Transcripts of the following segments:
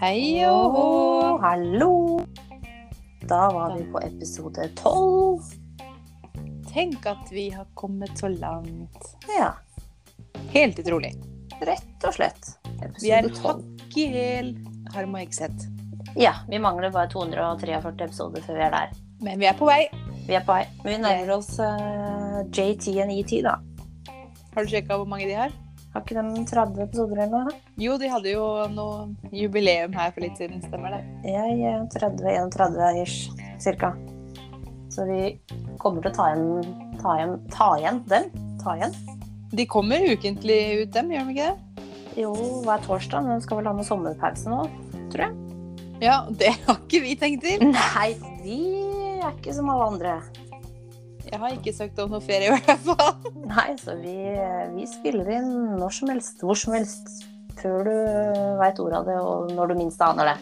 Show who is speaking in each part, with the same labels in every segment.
Speaker 1: Hei og hå!
Speaker 2: Hallo! Da var vi på episode tolv.
Speaker 1: Tenk at vi har kommet så langt.
Speaker 2: Ja,
Speaker 1: Helt utrolig.
Speaker 2: rett og slett.
Speaker 1: Vi er
Speaker 2: Episode tolv.
Speaker 1: hakk i hæl. Her må jeg ikke sett.
Speaker 2: Ja, vi mangler bare 243 episoder før vi er der.
Speaker 1: Men vi er på vei.
Speaker 2: Vi er på vei. Vi nærmer oss eh, JT og ET, da.
Speaker 1: Har du sjekka hvor mange de har?
Speaker 2: Har ikke de 30 episoder eller noe?
Speaker 1: Jo, de hadde jo noe jubileum her for litt siden, stemmer det?
Speaker 2: Jeg eh, er 30-31-ish, cirka. Så vi kommer til å ta igjen, ta igjen, ta igjen dem. Ta igjen.
Speaker 1: De kommer ukentlig ut, dem, gjør de ikke det?
Speaker 2: Jo, hver torsdag, men skal vel ha noen sommerpause nå?
Speaker 1: Ja, det har ikke vi tenkt til.
Speaker 2: Nei, vi er ikke som alle andre.
Speaker 1: Jeg har ikke søkt om noe ferie, i hvert fall.
Speaker 2: Nei, så vi, vi spiller inn når som helst, hvor som helst. Før du veit ordet av det, og når du minst aner det.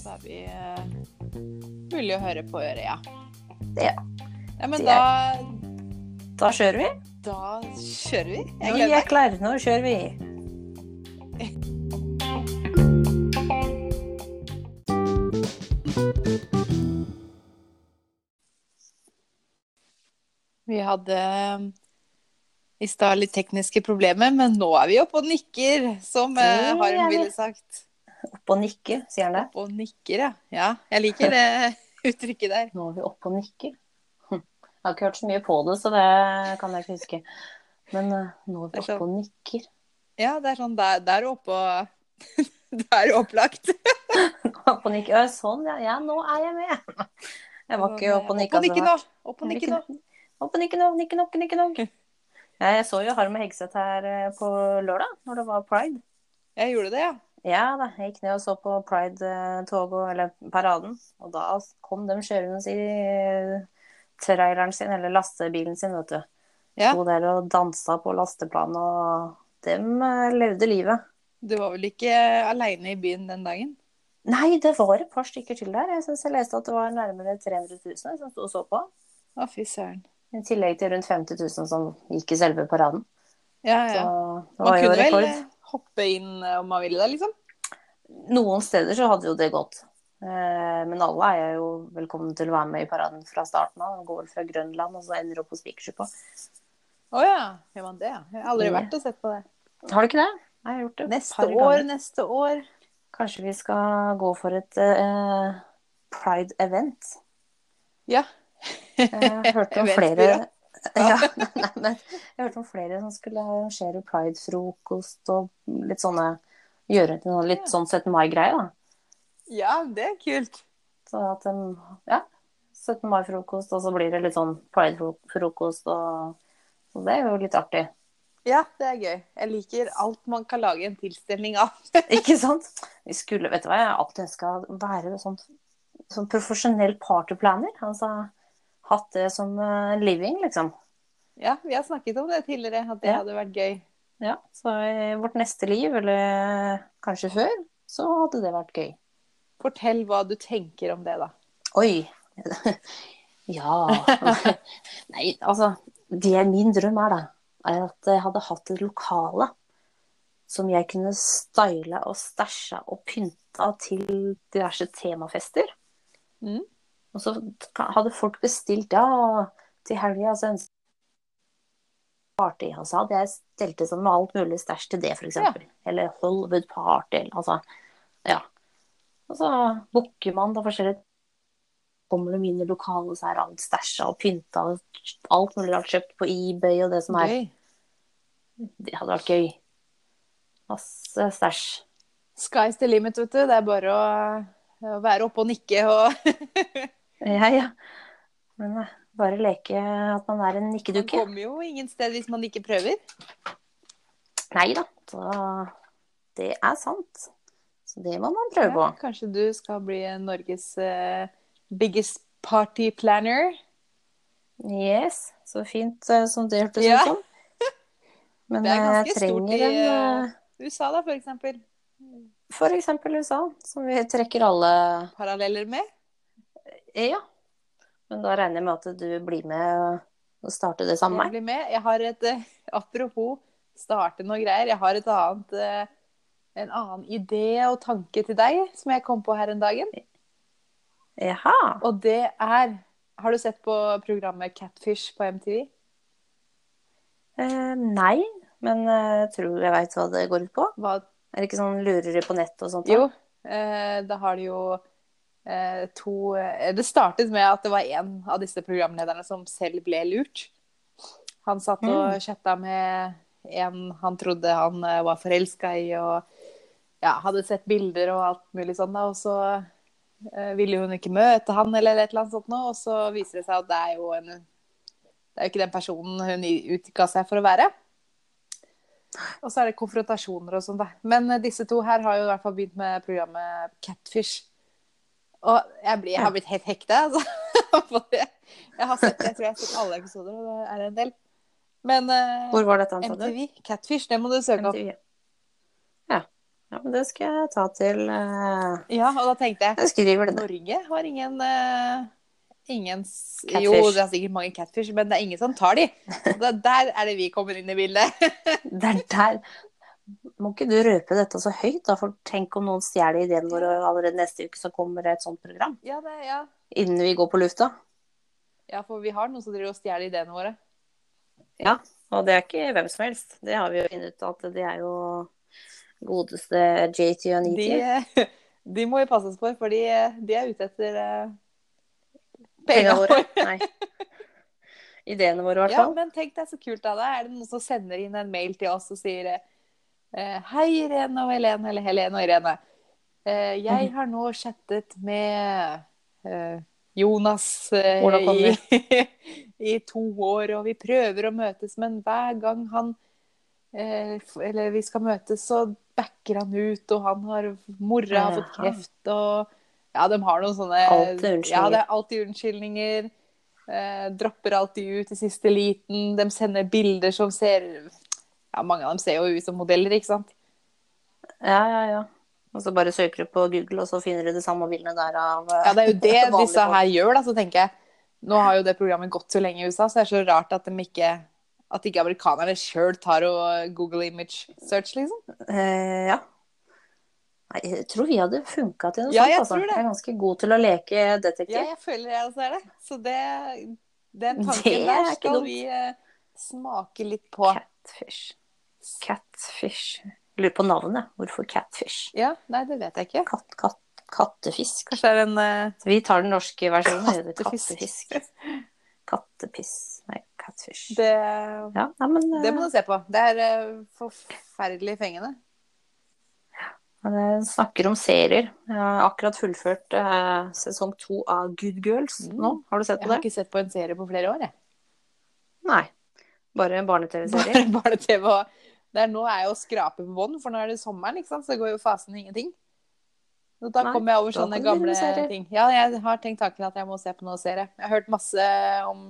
Speaker 1: Så er vi eh, mulig å høre på øret, ja.
Speaker 2: Ja.
Speaker 1: Ja, men
Speaker 2: Det
Speaker 1: da,
Speaker 2: Da kjører vi.
Speaker 1: da kjører vi. Jeg
Speaker 2: Nå
Speaker 1: gleder meg.
Speaker 2: er klar, nå kjører vi.
Speaker 1: Vi hadde um, i stad litt tekniske problemer, men nå er vi oppe og nikker, som eh,
Speaker 2: Det er
Speaker 1: Harm
Speaker 2: vi.
Speaker 1: ville sagt.
Speaker 2: Opp og nikke, sier han det.
Speaker 1: Oppe og nikker, ja. ja. Jeg liker det uttrykket der.
Speaker 2: Nå er vi opp og nikker. Hm. Jeg har ikke hørt så mye på det, så det kan jeg ikke huske. Men eh, nå er
Speaker 1: Det
Speaker 2: vi
Speaker 1: er sånn.
Speaker 2: opp og nikker.
Speaker 1: Ja, det er sånn der, der oppe og Der opplagt.
Speaker 2: Opp og nikker. Ja, sånn, ja. ja. Nå er jeg med. Jeg var ikke opp og altså, nikka. så det
Speaker 1: nå.
Speaker 2: var-
Speaker 1: Opp og nikke nå.
Speaker 2: Opp og nikke nå, nikke nok, nikke nok. Jeg så jo Harm Hegseth her eh, på lørdag, når det var pride.
Speaker 1: Jeg gjorde det, ja.
Speaker 2: Ja da, jeg gikk ned og så på Pride-toget, eller paraden, og da kom de kjørende i eh, traileren sin, eller lastebilen sin, vet du.
Speaker 1: Ja.
Speaker 2: Sto der og dansa på lasteplanet, og dem eh, levde livet.
Speaker 1: Du var vel ikke aleine i byen den dagen?
Speaker 2: Nei, det var et par stykker til der. Jeg syns jeg leste at det var nærmere 300 000 som sto og så på.
Speaker 1: Å, fy søren.
Speaker 2: I tillegg til rundt 50 000 som gikk i selve paraden.
Speaker 1: Ja,
Speaker 2: Så
Speaker 1: ja.
Speaker 2: det
Speaker 1: Man
Speaker 2: var jo
Speaker 1: kunne vel
Speaker 2: rekord.
Speaker 1: eh, hoppe inn eh, om man ville det, liksom?
Speaker 2: Noen steder så hadde jo det gått. Eh, Men alle er jo velkommen til å være med i paraden fra starten av. De Går fra Grønland og så ender opp hos Vikersuppa.
Speaker 1: Å ja. Gjør man det, ja. Jeg har aldri
Speaker 2: Ja.
Speaker 1: vært og sett på det.
Speaker 2: Har du ikke det? Nei, jeg har gjort det. et
Speaker 1: Neste
Speaker 2: par
Speaker 1: år,
Speaker 2: ganger.
Speaker 1: neste år.
Speaker 2: Kanskje vi skal gå for et eh, pride-event.
Speaker 1: Ja.
Speaker 2: Eh, Jeg hørte om
Speaker 1: Event,
Speaker 2: flere
Speaker 1: ja.
Speaker 2: ja, nei, men jeg hørte om flere som skulle arrangere pride-frokost og litt sånne Gjøre til noe litt sånn 17. mai-greie, da.
Speaker 1: Ja, det er kult.
Speaker 2: Så at de Ja. 17. mai-frokost, og så blir det litt sånn pride-frokost og Så det er jo litt artig.
Speaker 1: Ja, det er gøy. Jeg liker alt man kan lage en tilstelning av.
Speaker 2: Ikke sant? Vi skulle Vet du hva, jeg har alltid ønska å være sånn, sånn profesjonell partyplaner. Altså hatt det som eh, living, liksom.
Speaker 1: Ja, vi har snakket om det tidligere, at det
Speaker 2: Ja.
Speaker 1: hadde vært gøy.
Speaker 2: Ja. Så i vårt neste liv, eller kanskje før, så hadde det vært gøy.
Speaker 1: Fortell hva du tenker om det, da.
Speaker 2: Oi. Ja. Nei, altså. Det min drøm er, da, er at jeg hadde hatt et lokale som jeg kunne styla og stæsja og pynta til diverse temafester.
Speaker 1: Mm.
Speaker 2: Og så hadde folk bestilt, ja, til helga så ønsket party. Og så hadde jeg stelt det sånn med alt mulig stæsj til det, f.eks.
Speaker 1: Ja.
Speaker 2: eksempel. Eller Hollywood party, eller altså Ja. Og så booker man da forskjellige kommer de inn i lokalet, så er alt stæsja og pynta. og Alt mulig rart kjøpt på eBay og det som er.
Speaker 1: Gøy.
Speaker 2: Det hadde vært gøy. Masse stæsj.
Speaker 1: Sky's the limit, vet du. Det er bare å, å være oppe og nikke og
Speaker 2: Ja, ja. Men eh, bare leke at man er en
Speaker 1: Man
Speaker 2: nikkedukke.
Speaker 1: kommer jo ingen sted hvis man ikke prøver.
Speaker 2: Nei da. Så det er sant. Så det må man prøve på.
Speaker 1: Ja, kanskje du skal bli Norges eh, biggest party planner?
Speaker 2: Yes. Så fint eh, som det hørtes
Speaker 1: Ja.
Speaker 2: ut som. Men
Speaker 1: Det er
Speaker 2: eh, jeg
Speaker 1: ganske stort
Speaker 2: trenger
Speaker 1: i,
Speaker 2: en eh,
Speaker 1: USA, da, for eksempel.
Speaker 2: For eksempel USA, som vi trekker alle E,
Speaker 1: Paralleller med.
Speaker 2: Ja. Men da regner jeg med at du blir med å starte det sammen
Speaker 1: Jeg
Speaker 2: med meg.
Speaker 1: blir med. Jeg har et eh, Apropos starte noe greier. Jeg har et annet eh, en annen idé og tanke til deg som jeg kom på her en dagen.
Speaker 2: Jaha.
Speaker 1: Og det er Har du sett på programmet Catfish på MTV?
Speaker 2: Eh, nei, men eh, jeg tror jeg veit hva det går ut på.
Speaker 1: Hva
Speaker 2: Er det ikke sånn lureri på nett og sånt? da?
Speaker 1: Jo, eh, da har de jo eh, to eh, Det startet med at det var en av disse programlederne som selv ble lurt. Han satt og chatta med en han trodde han eh, var forelska i, og ja, hadde sett bilder og alt mulig sånn, da. Og så eh, ville hun ikke møte han eller et eller annet sånt noe, og så viser det seg at det er jo en det er jo ikke den personen hun i- utga seg for å være. Og så er det konfrontasjoner og sånn, da. Men eh, disse to her har jo i hvert fall begynt med programmet Catfish. Og jeg, blir, jeg har blitt helt hekta, altså. på det. Jeg, har sett, jeg tror jeg har sett alle episoder, og det er en del. Men eh,
Speaker 2: Hvor var dette, sa du?
Speaker 1: MTV, Catfish, det må du søke opp.
Speaker 2: MTV. Ja. ja, men det skal jeg ta til eh,
Speaker 1: Ja, og da tenkte jeg
Speaker 2: Jeg skriver det ned.
Speaker 1: Norge har ingen eh, Ingen s-
Speaker 2: Catfish.
Speaker 1: Jo, det er sikkert mange catfish, men det er ingen som tar de. Og det- Der er det vi kommer inn i bildet.
Speaker 2: Det er der. Må ikke du røpe dette så høyt, da? For tenk om noen stjeler ideen vår, og allerede neste uke så kommer det et sånt program.
Speaker 1: Ja, det, ja.
Speaker 2: Innen vi går på lufta.
Speaker 1: ja, for vi har noen som driver og stjeler ideene våre.
Speaker 2: Ja, og det er ikke hvem som helst. Det har vi jo funnet ut at det er jo godeste JT og
Speaker 1: De,
Speaker 2: NIT.
Speaker 1: de må vi passe oss for, for de, de er ute etter eh,
Speaker 2: Pengene
Speaker 1: pengene
Speaker 2: våre. Nei. Ideene våre, i hvert
Speaker 1: Ja,
Speaker 2: fall.
Speaker 1: men tenk deg så kult av deg. Er det noen som sender inn en mail til oss og sier eh, Hei, Irene og Helene, eller Helene og Irene. Eh, Jeg
Speaker 2: Mhm.
Speaker 1: har nå chattet med eh, Jonas eh,
Speaker 2: Ola Conny.
Speaker 1: i, i to år, og vi prøver å møtes, men hver gang han eh, f- Eller vi skal møtes, så backer han ut, og han har Mora har fått
Speaker 2: Jaha.
Speaker 1: kreft, og Ja, de har noen sånne
Speaker 2: Alltid unnskyldninger.
Speaker 1: Ja, det er alltid unnskyldninger. Eh, dropper alltid ut i siste liten. De sender bilder som ser Ja, mange av dem ser jo ut som modeller, ikke sant?
Speaker 2: Ja, ja, ja. Og så bare søker du på Google, og så finner du de samme bildene der av eh,
Speaker 1: Ja, det er jo det
Speaker 2: vanlige
Speaker 1: disse
Speaker 2: folk.
Speaker 1: her gjør, da, så tenker jeg. Nå har jo det programmet gått så lenge i USA, så det er så rart at de ikke at ikke amerikanerne sjøl tar og Google image search, liksom.
Speaker 2: Eh, ja. Nei, jeg tror vi hadde funka til noe
Speaker 1: Ja,
Speaker 2: sånt.
Speaker 1: jeg
Speaker 2: altså.
Speaker 1: tror det.
Speaker 2: Jeg er ganske god til å leke detektiv.
Speaker 1: Ja, jeg føler jeg også er det. Så det, den tanken
Speaker 2: Det er
Speaker 1: der
Speaker 2: ikke
Speaker 1: skal
Speaker 2: dumt.
Speaker 1: vi eh, smake litt på.
Speaker 2: Catfish. Catfish. Lurer på navnet. Hvorfor catfish?
Speaker 1: Ja, nei, det vet jeg ikke.
Speaker 2: Katt, katt, kattefisk.
Speaker 1: Kanskje det er en eh,
Speaker 2: Vi tar den norske versjonen. det heter
Speaker 1: Kattefisk.
Speaker 2: Kattefisk. Kattepiss. Nei, catfish.
Speaker 1: Det
Speaker 2: Ja, nei, men eh,
Speaker 1: Det må du se på. Det er eh, forferdelig fengende.
Speaker 2: jeg snakker om serier. Jeg har akkurat fullført eh, sesong to av Good Girls
Speaker 1: Mm.
Speaker 2: nå. Har du
Speaker 1: Jeg
Speaker 2: sett på
Speaker 1: har
Speaker 2: det?
Speaker 1: ikke sett på en serie på flere år. Jeg.
Speaker 2: Nei. Bare en barne-TV-serie.
Speaker 1: Bare, bare TV og det er, Nå er jeg å skrape på bånd, for nå er det sommeren, ikke sant? så går jo fasen ingenting. Så da
Speaker 2: Nei,
Speaker 1: kommer jeg over
Speaker 2: da
Speaker 1: sånne
Speaker 2: kan du
Speaker 1: gamle
Speaker 2: begynne med serier.
Speaker 1: ting. Ja, jeg har tenkt tanken at jeg må se på noe serie. Jeg har hørt masse om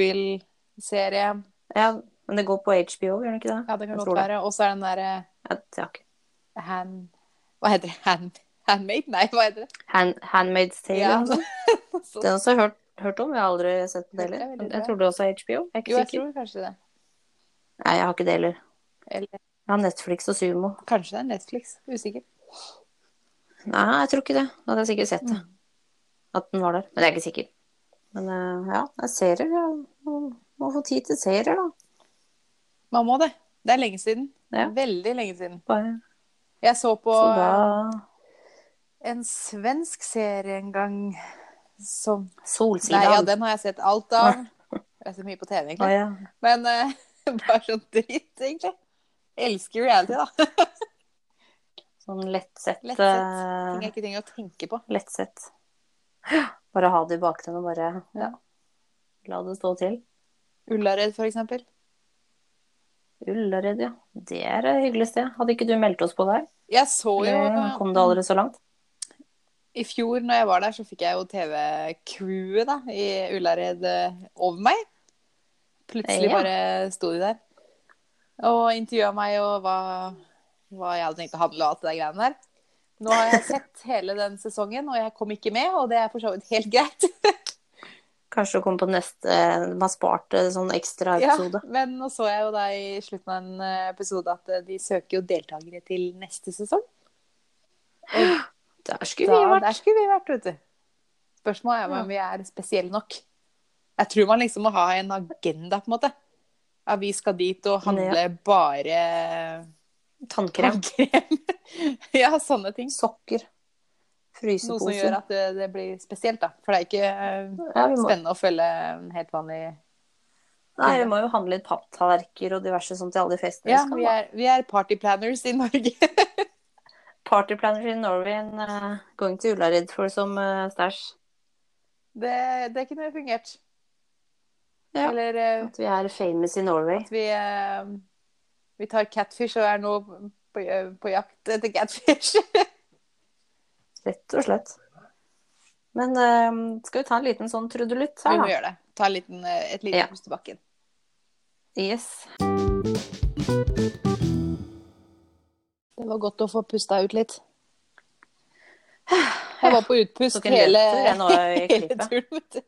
Speaker 1: Tsjernobyl-serie.
Speaker 2: Ja, men det går på HBO, gjør det ikke det?
Speaker 1: Ja, det
Speaker 2: Jeg
Speaker 1: kan
Speaker 2: tror
Speaker 1: godt være. Og så er den derre
Speaker 2: Ja, det har ikke-
Speaker 1: hand... Hva heter det? Hand... Handmade? Nei, hva heter det?
Speaker 2: Hand, Handmaid's Tale.
Speaker 1: Ja,
Speaker 2: eller noe sånt.
Speaker 1: Så-
Speaker 2: Den har jeg hørt, hørt om, jeg har aldri sett den
Speaker 1: Det er
Speaker 2: heller.
Speaker 1: veldig
Speaker 2: Men
Speaker 1: bra.
Speaker 2: Jeg tror det også er HBO. Jeg er ikke
Speaker 1: Jo, jeg
Speaker 2: sikker.
Speaker 1: tror kanskje det.
Speaker 2: Nei, jeg har ikke det heller.
Speaker 1: Eller
Speaker 2: Jeg har Netflix og Sumo.
Speaker 1: kanskje det er Netflix. Usikker.
Speaker 2: Nei, jeg tror ikke det. Da hadde jeg sikkert sett det. At den var der. Men jeg er ikke sikker. Men eh, ja, jeg ser det. Jeg må, må få tid til serier, da.
Speaker 1: Man må det. Det er lenge siden.
Speaker 2: Ja.
Speaker 1: Veldig lenge siden.
Speaker 2: Bare.
Speaker 1: Jeg så på
Speaker 2: Så da
Speaker 1: en svensk serie en gang som
Speaker 2: Solsida.
Speaker 1: Nei, ja, den har jeg sett alt av. Jeg ser mye på TV,
Speaker 2: Å,
Speaker 1: egentlig.
Speaker 2: ja.
Speaker 1: Men eh, bare sånn dritt, egentlig. Elsker reality, da.
Speaker 2: Sånn lettsett.
Speaker 1: Lettsett. Ting
Speaker 2: eh,
Speaker 1: jeg ikke trenger å tenke på.
Speaker 2: Lettsett. Bare ha det i bakgrunnen og bare
Speaker 1: Ja.
Speaker 2: la det stå til.
Speaker 1: Ullared, for eksempel.
Speaker 2: Ullared, ja. Det er et hyggelig sted. Hadde ikke du meldt oss på der?
Speaker 1: Jeg så jo
Speaker 2: Eller kom du allerede så langt?
Speaker 1: I fjor når jeg var der, så fikk jeg jo TV-crewet da, i Ullared eh, over meg. Plutselig
Speaker 2: Ja.
Speaker 1: bare sto de der og intervjua meg og hva, hva jeg hadde tenkt å handle og alt det der greiene der. Nå har jeg sett hele den sesongen, og jeg kom ikke med, og det er for så vidt helt greit.
Speaker 2: Kanskje du kommer på neste eh, Man sparte sånn ekstra
Speaker 1: Ja,
Speaker 2: episode.
Speaker 1: men nå så jeg jo da i slutten av en eh, episode at eh, de søker jo deltakere til neste sesong.
Speaker 2: Der
Speaker 1: Da,
Speaker 2: skulle vi vært.
Speaker 1: der skulle vi vært, vet du. Spørsmålet er om
Speaker 2: Ja.
Speaker 1: vi er spesielle nok. Jeg tror man liksom må ha en agenda, på en måte. At vi skal dit og handle bare
Speaker 2: Tannkrem.
Speaker 1: tannkrem. ja, sånne ting.
Speaker 2: Sokker.
Speaker 1: Noe som gjør
Speaker 2: Fryseposer.
Speaker 1: at det, det blir spesielt, da. For det er ikke eh,
Speaker 2: Ja, vi må,
Speaker 1: spennende å følge en helt vanlig
Speaker 2: nei, vi må jo handle litt papptallerkener og diverse sånt til alle de festene
Speaker 1: Ja,
Speaker 2: vi
Speaker 1: vi
Speaker 2: skal ha.
Speaker 1: er, vi er party planners i Norge.
Speaker 2: Partyplanners in Norway and uh, going to Ullared for some uh, stæsj.
Speaker 1: Det, det kunne fungert.
Speaker 2: Ja.
Speaker 1: Eller eh,
Speaker 2: At vi er famous in Norway.
Speaker 1: at vi, eh, vi tar catfish og er nå på, eh, på jakt etter catfish.
Speaker 2: Rett og slett. Men eh, skal vi ta en liten sånn trudelutt
Speaker 1: vi
Speaker 2: her,
Speaker 1: må
Speaker 2: da?
Speaker 1: gjøre det. Ta en liten, eh, et lite
Speaker 2: Ja.
Speaker 1: pust i bakken.
Speaker 2: Yes.
Speaker 1: Det var godt å få pusta ut litt. Jeg var på utpust
Speaker 2: Tok en
Speaker 1: hele,
Speaker 2: løptur jeg nå eh, i
Speaker 1: hele
Speaker 2: klippet.
Speaker 1: turen. vet du.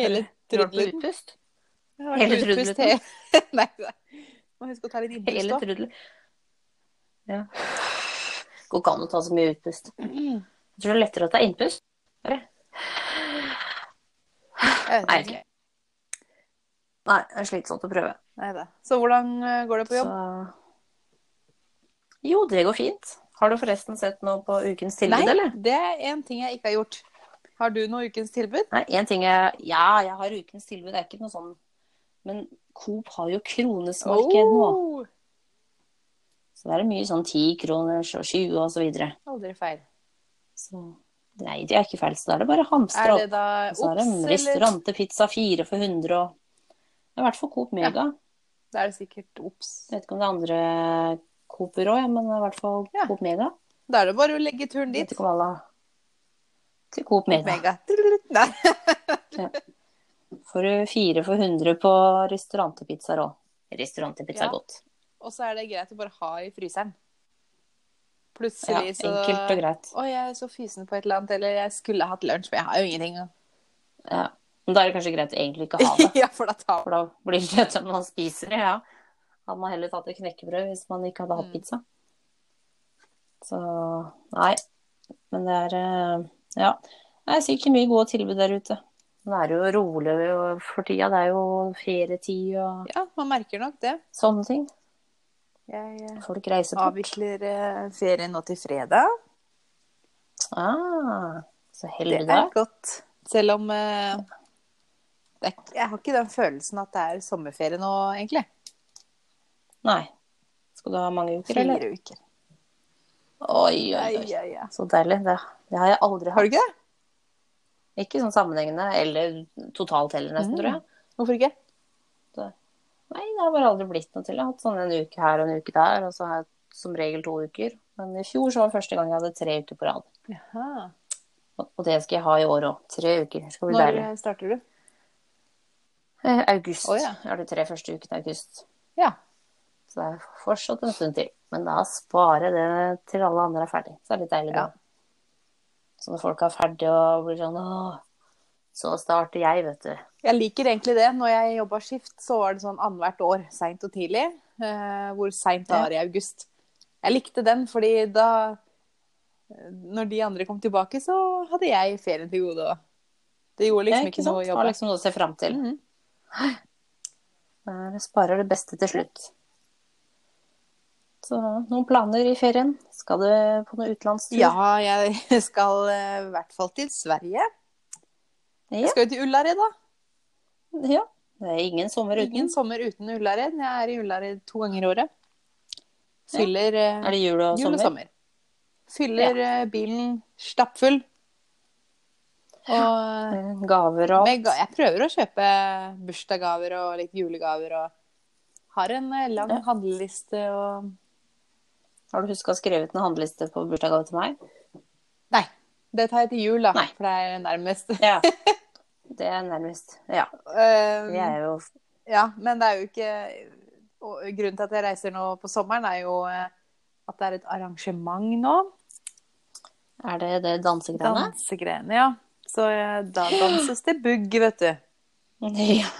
Speaker 1: Hele trudelen.
Speaker 2: utpust?
Speaker 1: Jeg har vært
Speaker 2: Hele
Speaker 1: på utpust
Speaker 2: trudeluten?
Speaker 1: he- Nei, nei. Må huske å ta litt innpust
Speaker 2: Hele
Speaker 1: òg.
Speaker 2: trudel. Ja. Går ikke an å ta så mye utpust. Jeg tror det er lettere å ta innpust. Bare. Nei, egentlig. Nei, det er slitsomt å prøve.
Speaker 1: Nei da. Så hvordan eh, går det på jobb?
Speaker 2: Så... Jo, det går fint. Har du forresten sett noe på ukens tilbud,
Speaker 1: Nei,
Speaker 2: eller?
Speaker 1: det er en ting jeg ikke har gjort. Har du noe ukens tilbud?
Speaker 2: Nei, en ting jeg Ja, jeg har ukens tilbud, det er ikke noe sånn Men Coop har jo kronesmarked nå.
Speaker 1: Oh,
Speaker 2: Så da er det mye sånn 10 kroner og 20 og så videre.
Speaker 1: aldri feil.
Speaker 2: Så nei, det er ikke feil. Så da er det bare å hamstre
Speaker 1: Er det
Speaker 2: opp.
Speaker 1: da
Speaker 2: Og
Speaker 1: Ops,
Speaker 2: Så er det en
Speaker 1: eller?
Speaker 2: restaurant til pizza 4 for 100 og Det er i hvert fall Coop Mega.
Speaker 1: Da er det sikkert Ops.
Speaker 2: Jeg vet ikke om det er andre Cooper òg, ja, men det er i hvert fall
Speaker 1: Ja.
Speaker 2: Coop Mega.
Speaker 1: Da er det bare å legge turen
Speaker 2: Jeg
Speaker 1: dit.
Speaker 2: vet ikke om alle til Coop Mega.
Speaker 1: Mega. Nei.
Speaker 2: Får du 4 for 100 på restaurant til pizza òg. Restaurant til pizza
Speaker 1: Ja.
Speaker 2: er godt.
Speaker 1: Og så er det greit å bare ha i fryseren.
Speaker 2: Ja,
Speaker 1: Plutselig så
Speaker 2: enkelt og greit.
Speaker 1: Å, jeg er så fysen på et eller annet, eller jeg skulle hatt lunsj, men jeg har jo ingenting. å-
Speaker 2: Ja. Men da er det kanskje greit å egentlig ikke ha det.
Speaker 1: ja, for da tar
Speaker 2: For da blir det som man spiser, ja. Hadde man heller tatt et knekkebrød hvis man ikke hadde hatt
Speaker 1: Mm.
Speaker 2: pizza. Så nei. Men det er eh, Ja. Det er sikkert mye gode tilbud der ute. Nå er det jo rolig og for tida. Det er jo ferietid og
Speaker 1: Ja, man merker nok det.
Speaker 2: sånne ting.
Speaker 1: Jeg eh,
Speaker 2: Folk reiser på.
Speaker 1: avvikler eh, ferien nå til fredag.
Speaker 2: Ah, så
Speaker 1: Det
Speaker 2: heldig du
Speaker 1: er
Speaker 2: er.
Speaker 1: godt. Selv om eh, det er, ikke- Jeg har ikke den følelsen at det er sommerferie nå, egentlig.
Speaker 2: Nei. Skal du ha mange uker, eller?
Speaker 1: Fire uker.
Speaker 2: Oi, oi,
Speaker 1: Ai,
Speaker 2: oi.
Speaker 1: ai, ai.
Speaker 2: Så deilig. Det, det har jeg aldri
Speaker 1: Har du
Speaker 2: hatt.
Speaker 1: ikke det?
Speaker 2: Ikke sånn sammenhengende eller totalt heller, nesten,
Speaker 1: Mm.
Speaker 2: tror jeg.
Speaker 1: Hvorfor ikke?
Speaker 2: Nei, det har bare aldri blitt noe til. Jeg har hatt sånn en uke her og en uke der, og så har jeg som regel to uker. Men i fjor så var det første gang jeg hadde tre uker på rad.
Speaker 1: Jaha.
Speaker 2: Og- Og det skal jeg ha i år òg. Tre uker. Det skal bli
Speaker 1: Når
Speaker 2: deilig.
Speaker 1: eh, starter du?
Speaker 2: Eh, august.
Speaker 1: Å, ja.
Speaker 2: Jeg har de tre første ukene i august.
Speaker 1: Ja.
Speaker 2: Så det er fortsatt en stund til. Men da spare det til alle andre er ferdig. Så er det litt deilig
Speaker 1: Ja.
Speaker 2: da. Så når folk er ferdige og blir sånn åh, så starter jeg, vet du.
Speaker 1: Jeg liker egentlig det. Når jeg jobba skift, så var det sånn annethvert år, seint og tidlig. eh, hvor seint det var i august. Jeg likte den, fordi da eh, Når de andre kom tilbake, så hadde jeg ferien til gode. og Det gjorde
Speaker 2: Ja,
Speaker 1: liksom ikke, noe å
Speaker 2: Har
Speaker 1: jobbe.
Speaker 2: liksom noe å se fram til.
Speaker 1: Mhm.
Speaker 2: Der sparer det beste til slutt. Så noen planer i ferien? Skal du på noe utenlandstur?
Speaker 1: Ja, jeg skal eh, i hvert fall til Sverige.
Speaker 2: Ja.
Speaker 1: Jeg skal jo til Ullared, da.
Speaker 2: ja. Det er ingen sommer uten.
Speaker 1: Ingen sommer uten Ullared. Jeg er i Ullared to ganger i året. Fyller eh,
Speaker 2: Er det jul og
Speaker 1: jul og
Speaker 2: sommer?
Speaker 1: sommer. Fyller eh, bilen stappfull. Og
Speaker 2: Eh, Gaver og
Speaker 1: med ga- jeg prøver å kjøpe bursdagsgaver og litt julegaver og har en eh, lang
Speaker 2: Ja.
Speaker 1: handleliste og
Speaker 2: Har du huska å skrive ut en handleliste på bursdagsgave til meg?
Speaker 1: Nei, det tar jeg til jul, da,
Speaker 2: Nei.
Speaker 1: for det er nærmest.
Speaker 2: Ja. Det er nærmest. Ja.
Speaker 1: Eh,
Speaker 2: Jeg er jo
Speaker 1: Ja, men det er jo ikke og Grunnen til at jeg reiser nå på sommeren, er jo eh, at det er et arrangement nå.
Speaker 2: Er det det dansegreiene?
Speaker 1: Dansegreiene, ja. Så eh, da danses det bugg, vet du.
Speaker 2: Ja.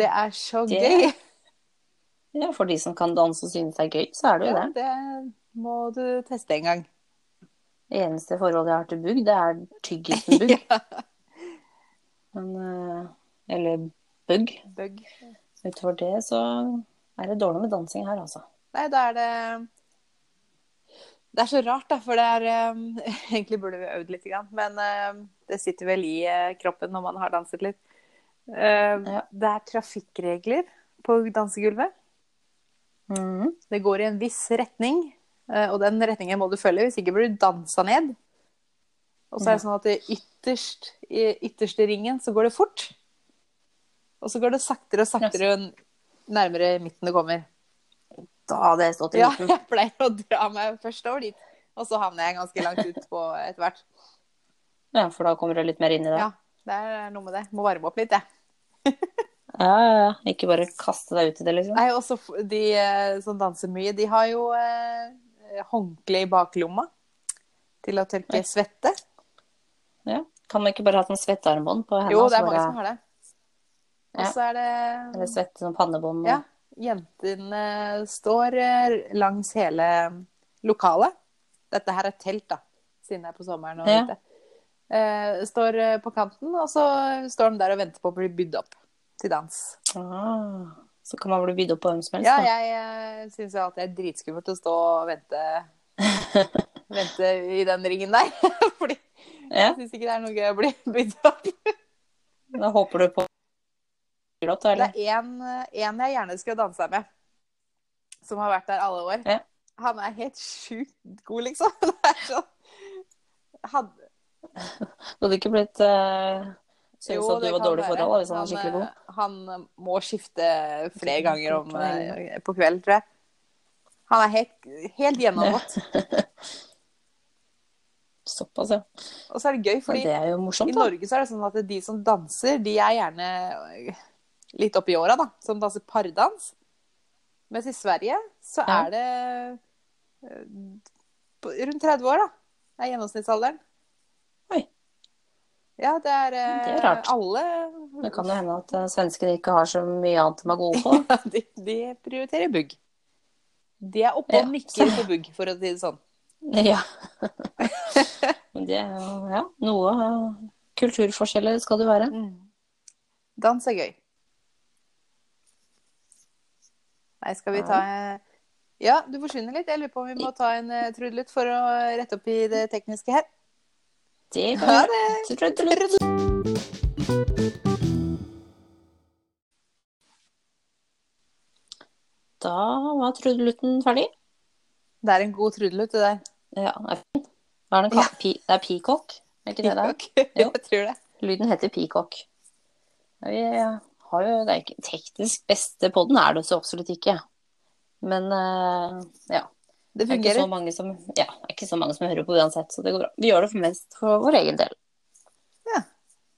Speaker 1: Det er så
Speaker 2: Det
Speaker 1: gøy.
Speaker 2: ja, for de som kan danse og synes det er gøy, så er det jo
Speaker 1: Ja,
Speaker 2: det.
Speaker 1: det må du teste en gang.
Speaker 2: Det eneste forholdet jeg har til bugg, det er tyggisen bugg. Men, eh, eller bugg.
Speaker 1: Bugg.
Speaker 2: Utover det så er det dårlig med dansing her, altså.
Speaker 1: Nei, da er det Det er så rart, da, for det er um, Egentlig burde vi øvd litt, grann, men um, det sitter vel i eh, kroppen når man har danset litt. Um,
Speaker 2: Ja.
Speaker 1: Det er trafikkregler på dansegulvet.
Speaker 2: Mhm.
Speaker 1: Det går i en viss retning, eh, og den retningen må du følge, hvis ikke blir du dansa ned. Og så er det sånn at det ytterst, i ytterste ringen så går det fort. Og så går det saktere og saktere jo nærmere midten du kommer.
Speaker 2: Da hadde jeg stått i
Speaker 1: Ja,
Speaker 2: midten.
Speaker 1: jeg pleier å dra meg først over dit, og så havner jeg ganske langt ut på etter hvert.
Speaker 2: Ja, for da kommer du litt mer inn i det.
Speaker 1: Ja, det er noe med det. Må varme opp litt, jeg.
Speaker 2: Ja, ja, ja. Ikke bare kaste deg ut i det, liksom.
Speaker 1: Nei, også f- de eh, som danser mye, de har jo eh, håndkle i baklomma til å tørke svette.
Speaker 2: Ja. Kan man ikke bare ha sånn svettearmbånd på hendene?
Speaker 1: Jo, det
Speaker 2: så
Speaker 1: er mange
Speaker 2: bare-
Speaker 1: som har det. Og
Speaker 2: Ja. sånn?
Speaker 1: så er
Speaker 2: Eller
Speaker 1: det
Speaker 2: svette som pannebånd.
Speaker 1: Ja. Jentene står eh, langs hele mm, lokalet. Dette her er telt, da, siden det er på sommeren. og
Speaker 2: Ja.
Speaker 1: ute. Eh, Står eh, på kanten, og så står de der og venter på å bli bydd opp til dans.
Speaker 2: Ah, så kan man bli bydd opp på hvem som helst.
Speaker 1: Ja,
Speaker 2: da.
Speaker 1: jeg syns jo at det er dritskummelt å stå og vente, vente i den ringen der. Fordi
Speaker 2: Ja,
Speaker 1: jeg syns ikke det er noe gøy å bli bydd opp.
Speaker 2: Da håper du på Byr opp,
Speaker 1: Det
Speaker 2: da, eller?
Speaker 1: er en, eh, en jeg gjerne skulle dansa med, som har vært der alle år.
Speaker 2: Ja.
Speaker 1: Han er helt sjukt god, liksom. Det er sånn han,
Speaker 2: Du hadde ikke blitt uh, syntes
Speaker 1: jo,
Speaker 2: at du
Speaker 1: det
Speaker 2: var
Speaker 1: kan
Speaker 2: dårlig i
Speaker 1: være.
Speaker 2: forhold da, hvis han var skikkelig god?
Speaker 1: eh, Han må skifte flere ganger om,
Speaker 2: Skikkelig.
Speaker 1: eh, på kvelden, tror jeg. Han er helt, helt gjennomgått.
Speaker 2: Såpass, ja.
Speaker 1: Og så er det gøy,
Speaker 2: Men
Speaker 1: fordi
Speaker 2: det er jo
Speaker 1: I
Speaker 2: morsomt, da.
Speaker 1: Norge så er det sånn at de som danser, de er gjerne øh, litt oppi åra, da. Som danser pardans. Mens i Sverige så
Speaker 2: Ja.
Speaker 1: er det eh, på- rundt 30 år, da. Det er gjennomsnittsalderen.
Speaker 2: Oi.
Speaker 1: Ja, det er, eh,
Speaker 2: Det er rart.
Speaker 1: Alle
Speaker 2: Det kan jo hende at eh, svenskene ikke har så mye annet de er gode på. da.
Speaker 1: de, de prioriterer bugg. De er oppe
Speaker 2: Ja.
Speaker 1: og nikker på bugg, for å si det sånn.
Speaker 2: Ja. Men det er jo ja, noe eh, kulturforskjeller skal det være.
Speaker 1: Mm. Dans er gøy. Nei, skal vi ta eh, Ja, du forsvinner litt. Jeg lurer på om vi må ta en eh, trudelutt for å rette opp i det tekniske her.
Speaker 2: Det
Speaker 1: Ha
Speaker 2: kan vi gjøre. Da var trudelutten ferdig.
Speaker 1: Det er en god trudelutt, det der.
Speaker 2: Ja, den er fin. Hva er den kalt? Pi, det er peacock? Er ikke det det? er?
Speaker 1: Peacock.
Speaker 2: Jo.
Speaker 1: Jeg tror det.
Speaker 2: Lyden heter peacock. Vi har jo det er ikke teknisk beste podden, er det så absolutt ikke. Men eh, ja,
Speaker 1: Det
Speaker 2: det er ikke så
Speaker 1: fungerer.
Speaker 2: mange som, ja, det er ikke så mange som hører på uansett, så det går bra. Vi gjør det for mest for vår egen del.
Speaker 1: Ja.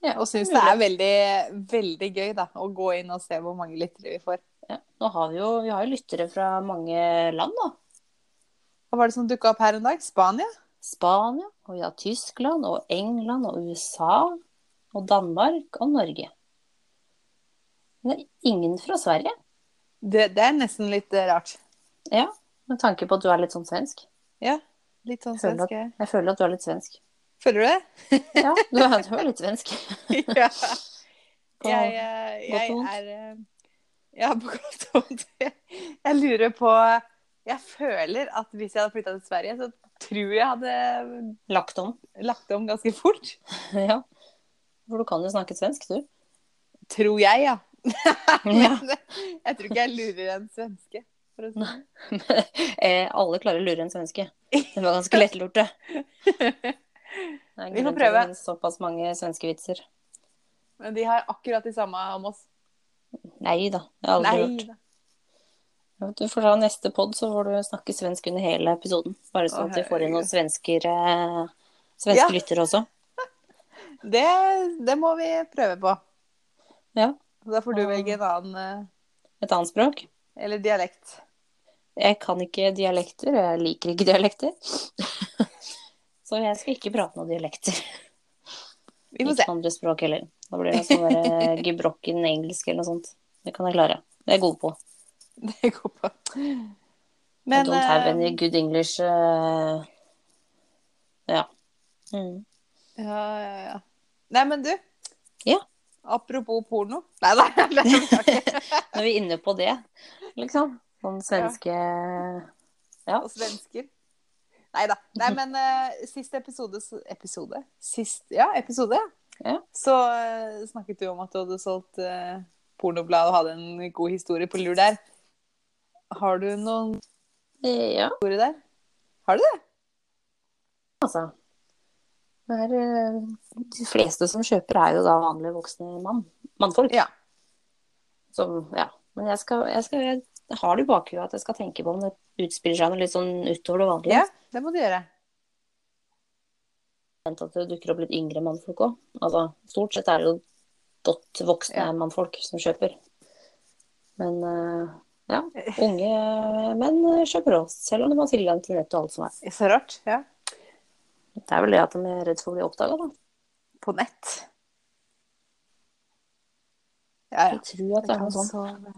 Speaker 2: Ja,
Speaker 1: Og syns det er veldig, veldig gøy da, å gå inn og se hvor mange lyttere vi får.
Speaker 2: Ja. Nå har vi jo, vi har jo lyttere fra mange land, da.
Speaker 1: Hva var det som dukka opp her en dag? Spania?
Speaker 2: Spania, og vi har Tyskland, og England, og USA, og Danmark, og Norge. Men det er ingen fra Sverige,
Speaker 1: Det, det er nesten litt eh, rart.
Speaker 2: ja, med tanke på at du er litt sånn svensk.
Speaker 1: Ja. Litt sånn
Speaker 2: Føler at-
Speaker 1: svenske
Speaker 2: Jeg føler at du er litt svensk.
Speaker 1: Føler du det?
Speaker 2: Ja, du er, du er litt svensk.
Speaker 1: ja.
Speaker 2: På
Speaker 1: jeg, eh,
Speaker 2: godt
Speaker 1: jeg
Speaker 2: og vondt.
Speaker 1: er eh, Ja, på godt og vondt. Jeg lurer på Jeg føler at hvis jeg hadde flytta til Sverige, så tror jeg hadde
Speaker 2: Lagt om.
Speaker 1: lagt om ganske fort.
Speaker 2: Ja. For du kan jo snakke svensk, du.
Speaker 1: Tror jeg, ja.
Speaker 2: Ja.
Speaker 1: Men eh, jeg tror ikke jeg lurer en svenske. For å si. det.
Speaker 2: Eh, alle klarer å lure en svenske. Det var ganske lettlurt, det. Det er en
Speaker 1: Vi får
Speaker 2: grunn til
Speaker 1: prøve.
Speaker 2: det finnes Såpass mange svenske vitser.
Speaker 1: Men de har akkurat de samme om oss.
Speaker 2: Nei da, det har jeg aldri
Speaker 1: Nei
Speaker 2: gjort.
Speaker 1: da.
Speaker 2: Du får ta neste pod, så får du snakke svensk under hele episoden. Bare sånn at vi får inn noen svensker, eh, svenske
Speaker 1: Ja.
Speaker 2: lyttere også.
Speaker 1: Det, det må vi prøve på.
Speaker 2: Ja.
Speaker 1: Da får du velge en annen eh,
Speaker 2: Et annet språk.
Speaker 1: Eller dialekt.
Speaker 2: Jeg kan ikke dialekter, jeg liker ikke dialekter. så jeg skal ikke prate noen dialekter.
Speaker 1: Vi får
Speaker 2: Ikke
Speaker 1: se.
Speaker 2: noe andre språk heller. Da blir det sånn der gebrokken engelsk eller noe sånt. Det kan jeg klare. Det er jeg god på.
Speaker 1: Det går på.
Speaker 2: I
Speaker 1: Men
Speaker 2: don't have
Speaker 1: eh,
Speaker 2: any good English eh, Ja. Mm.
Speaker 1: Ja, ja, ja. Nei, men du.
Speaker 2: Ja.
Speaker 1: Apropos porno. Nei, nei, nei, nei, nei.
Speaker 2: Når vi er inne på det, liksom. Sånn svenske
Speaker 1: Og svensker. Nei da. Nei, men eh, sist episode Episode? Sist, ja, episode.
Speaker 2: Ja.
Speaker 1: Så eh, snakket du om at du hadde solgt uh, pornoblad og hadde en god historie på lur der. Har du noen
Speaker 2: Ja,
Speaker 1: historie der?
Speaker 2: altså. Det er, eh, de fleste som kjøper, er jo da vanlige voksne mann. mannfolk.
Speaker 1: Ja.
Speaker 2: Som, ja. Men jeg, skal, jeg, skal, jeg har det i bakhuet at jeg skal tenke på om det utspiller seg noe litt sånn utover det vanlige.
Speaker 1: Ja, det må du gjøre.
Speaker 2: vent at det dukker opp litt yngre mannfolk òg. Altså, stort sett er det jo godt voksne
Speaker 1: Ja.
Speaker 2: mannfolk som kjøper. Men eh, ja, unge menn kjøper òg, selv om de har tilgang til nett og alt som er.
Speaker 1: Så rart. Ja.
Speaker 2: Det er vel det at de er redd for å bli oppdaga, da.
Speaker 1: På nett. Ja, ja.
Speaker 2: Jeg tror at det er noe sånt.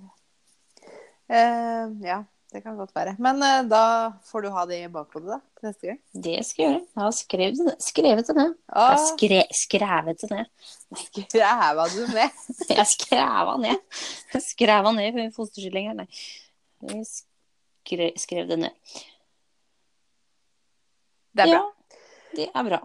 Speaker 1: Eh, ja, det kan godt være. Men eh, da får du ha det i bakhodet da, til neste gang.
Speaker 2: Det skal jeg gjøre. Jeg har skrevet det. Skrevet det ned. Jeg har skre, skrevet det ned.
Speaker 1: Skræva du med?
Speaker 2: Jeg skræva ned. Jeg skræva ned i fosterskillingen. Nei. Jeg skre, skrev det ned.
Speaker 1: Det er bra.
Speaker 2: Ja, det er bra.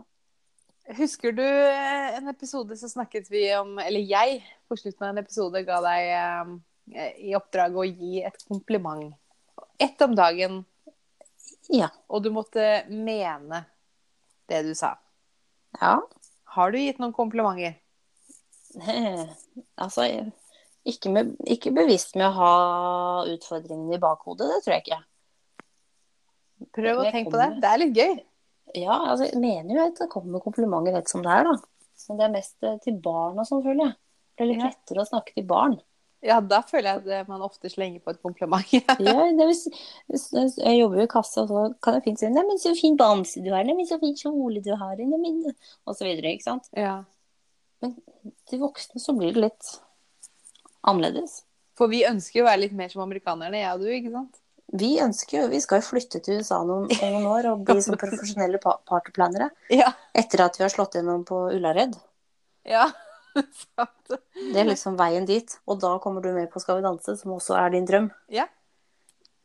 Speaker 1: Husker du eh, en episode så snakket vi om, eller jeg på slutten av en episode ga deg eh, i oppdrag å gi et kompliment. Ett om dagen,
Speaker 2: Ja.
Speaker 1: og du måtte mene det du sa.
Speaker 2: ja.
Speaker 1: Har du gitt noen komplimenter?
Speaker 2: Eh, Altså, jeg- ikke, med, ikke bevisst med å ha utfordringene i bakhodet, det tror jeg ikke.
Speaker 1: Prøv å
Speaker 2: Jeg
Speaker 1: tenke på det.
Speaker 2: kommer.
Speaker 1: Det er litt gøy.
Speaker 2: Ja, altså, jeg mener jo at det kommer komplimenter rett som det er, da. Men det er mest eh, til barn og sånn, føler jeg. Det er litt
Speaker 1: Ja.
Speaker 2: lettere å snakke til barn.
Speaker 1: Ja, da føler jeg at eh, man ofte slenger på et kompliment.
Speaker 2: Ja, det er hvis, hvis, hvis jeg jobber jo i kassa, og så kan jeg fint si 'Neimen, så fin bamse du har', 'Neimen, så fin kjole du har', neimen, og så videre, ikke sant.
Speaker 1: ja.
Speaker 2: Til voksne så blir det litt annerledes.
Speaker 1: For vi ønsker jo å være litt mer som amerikanerne, jeg og du, ikke sant?
Speaker 2: Vi ønsker jo, vi skal jo flytte til USA noen, om noen år og bli som profesjonelle pa- partyplanere.
Speaker 1: Ja.
Speaker 2: Etter at vi har slått gjennom på Ullared.
Speaker 1: Ja. Sant.
Speaker 2: Det er liksom veien dit. Og da kommer du med på Skal vi danse, som også er din drøm.
Speaker 1: Ja.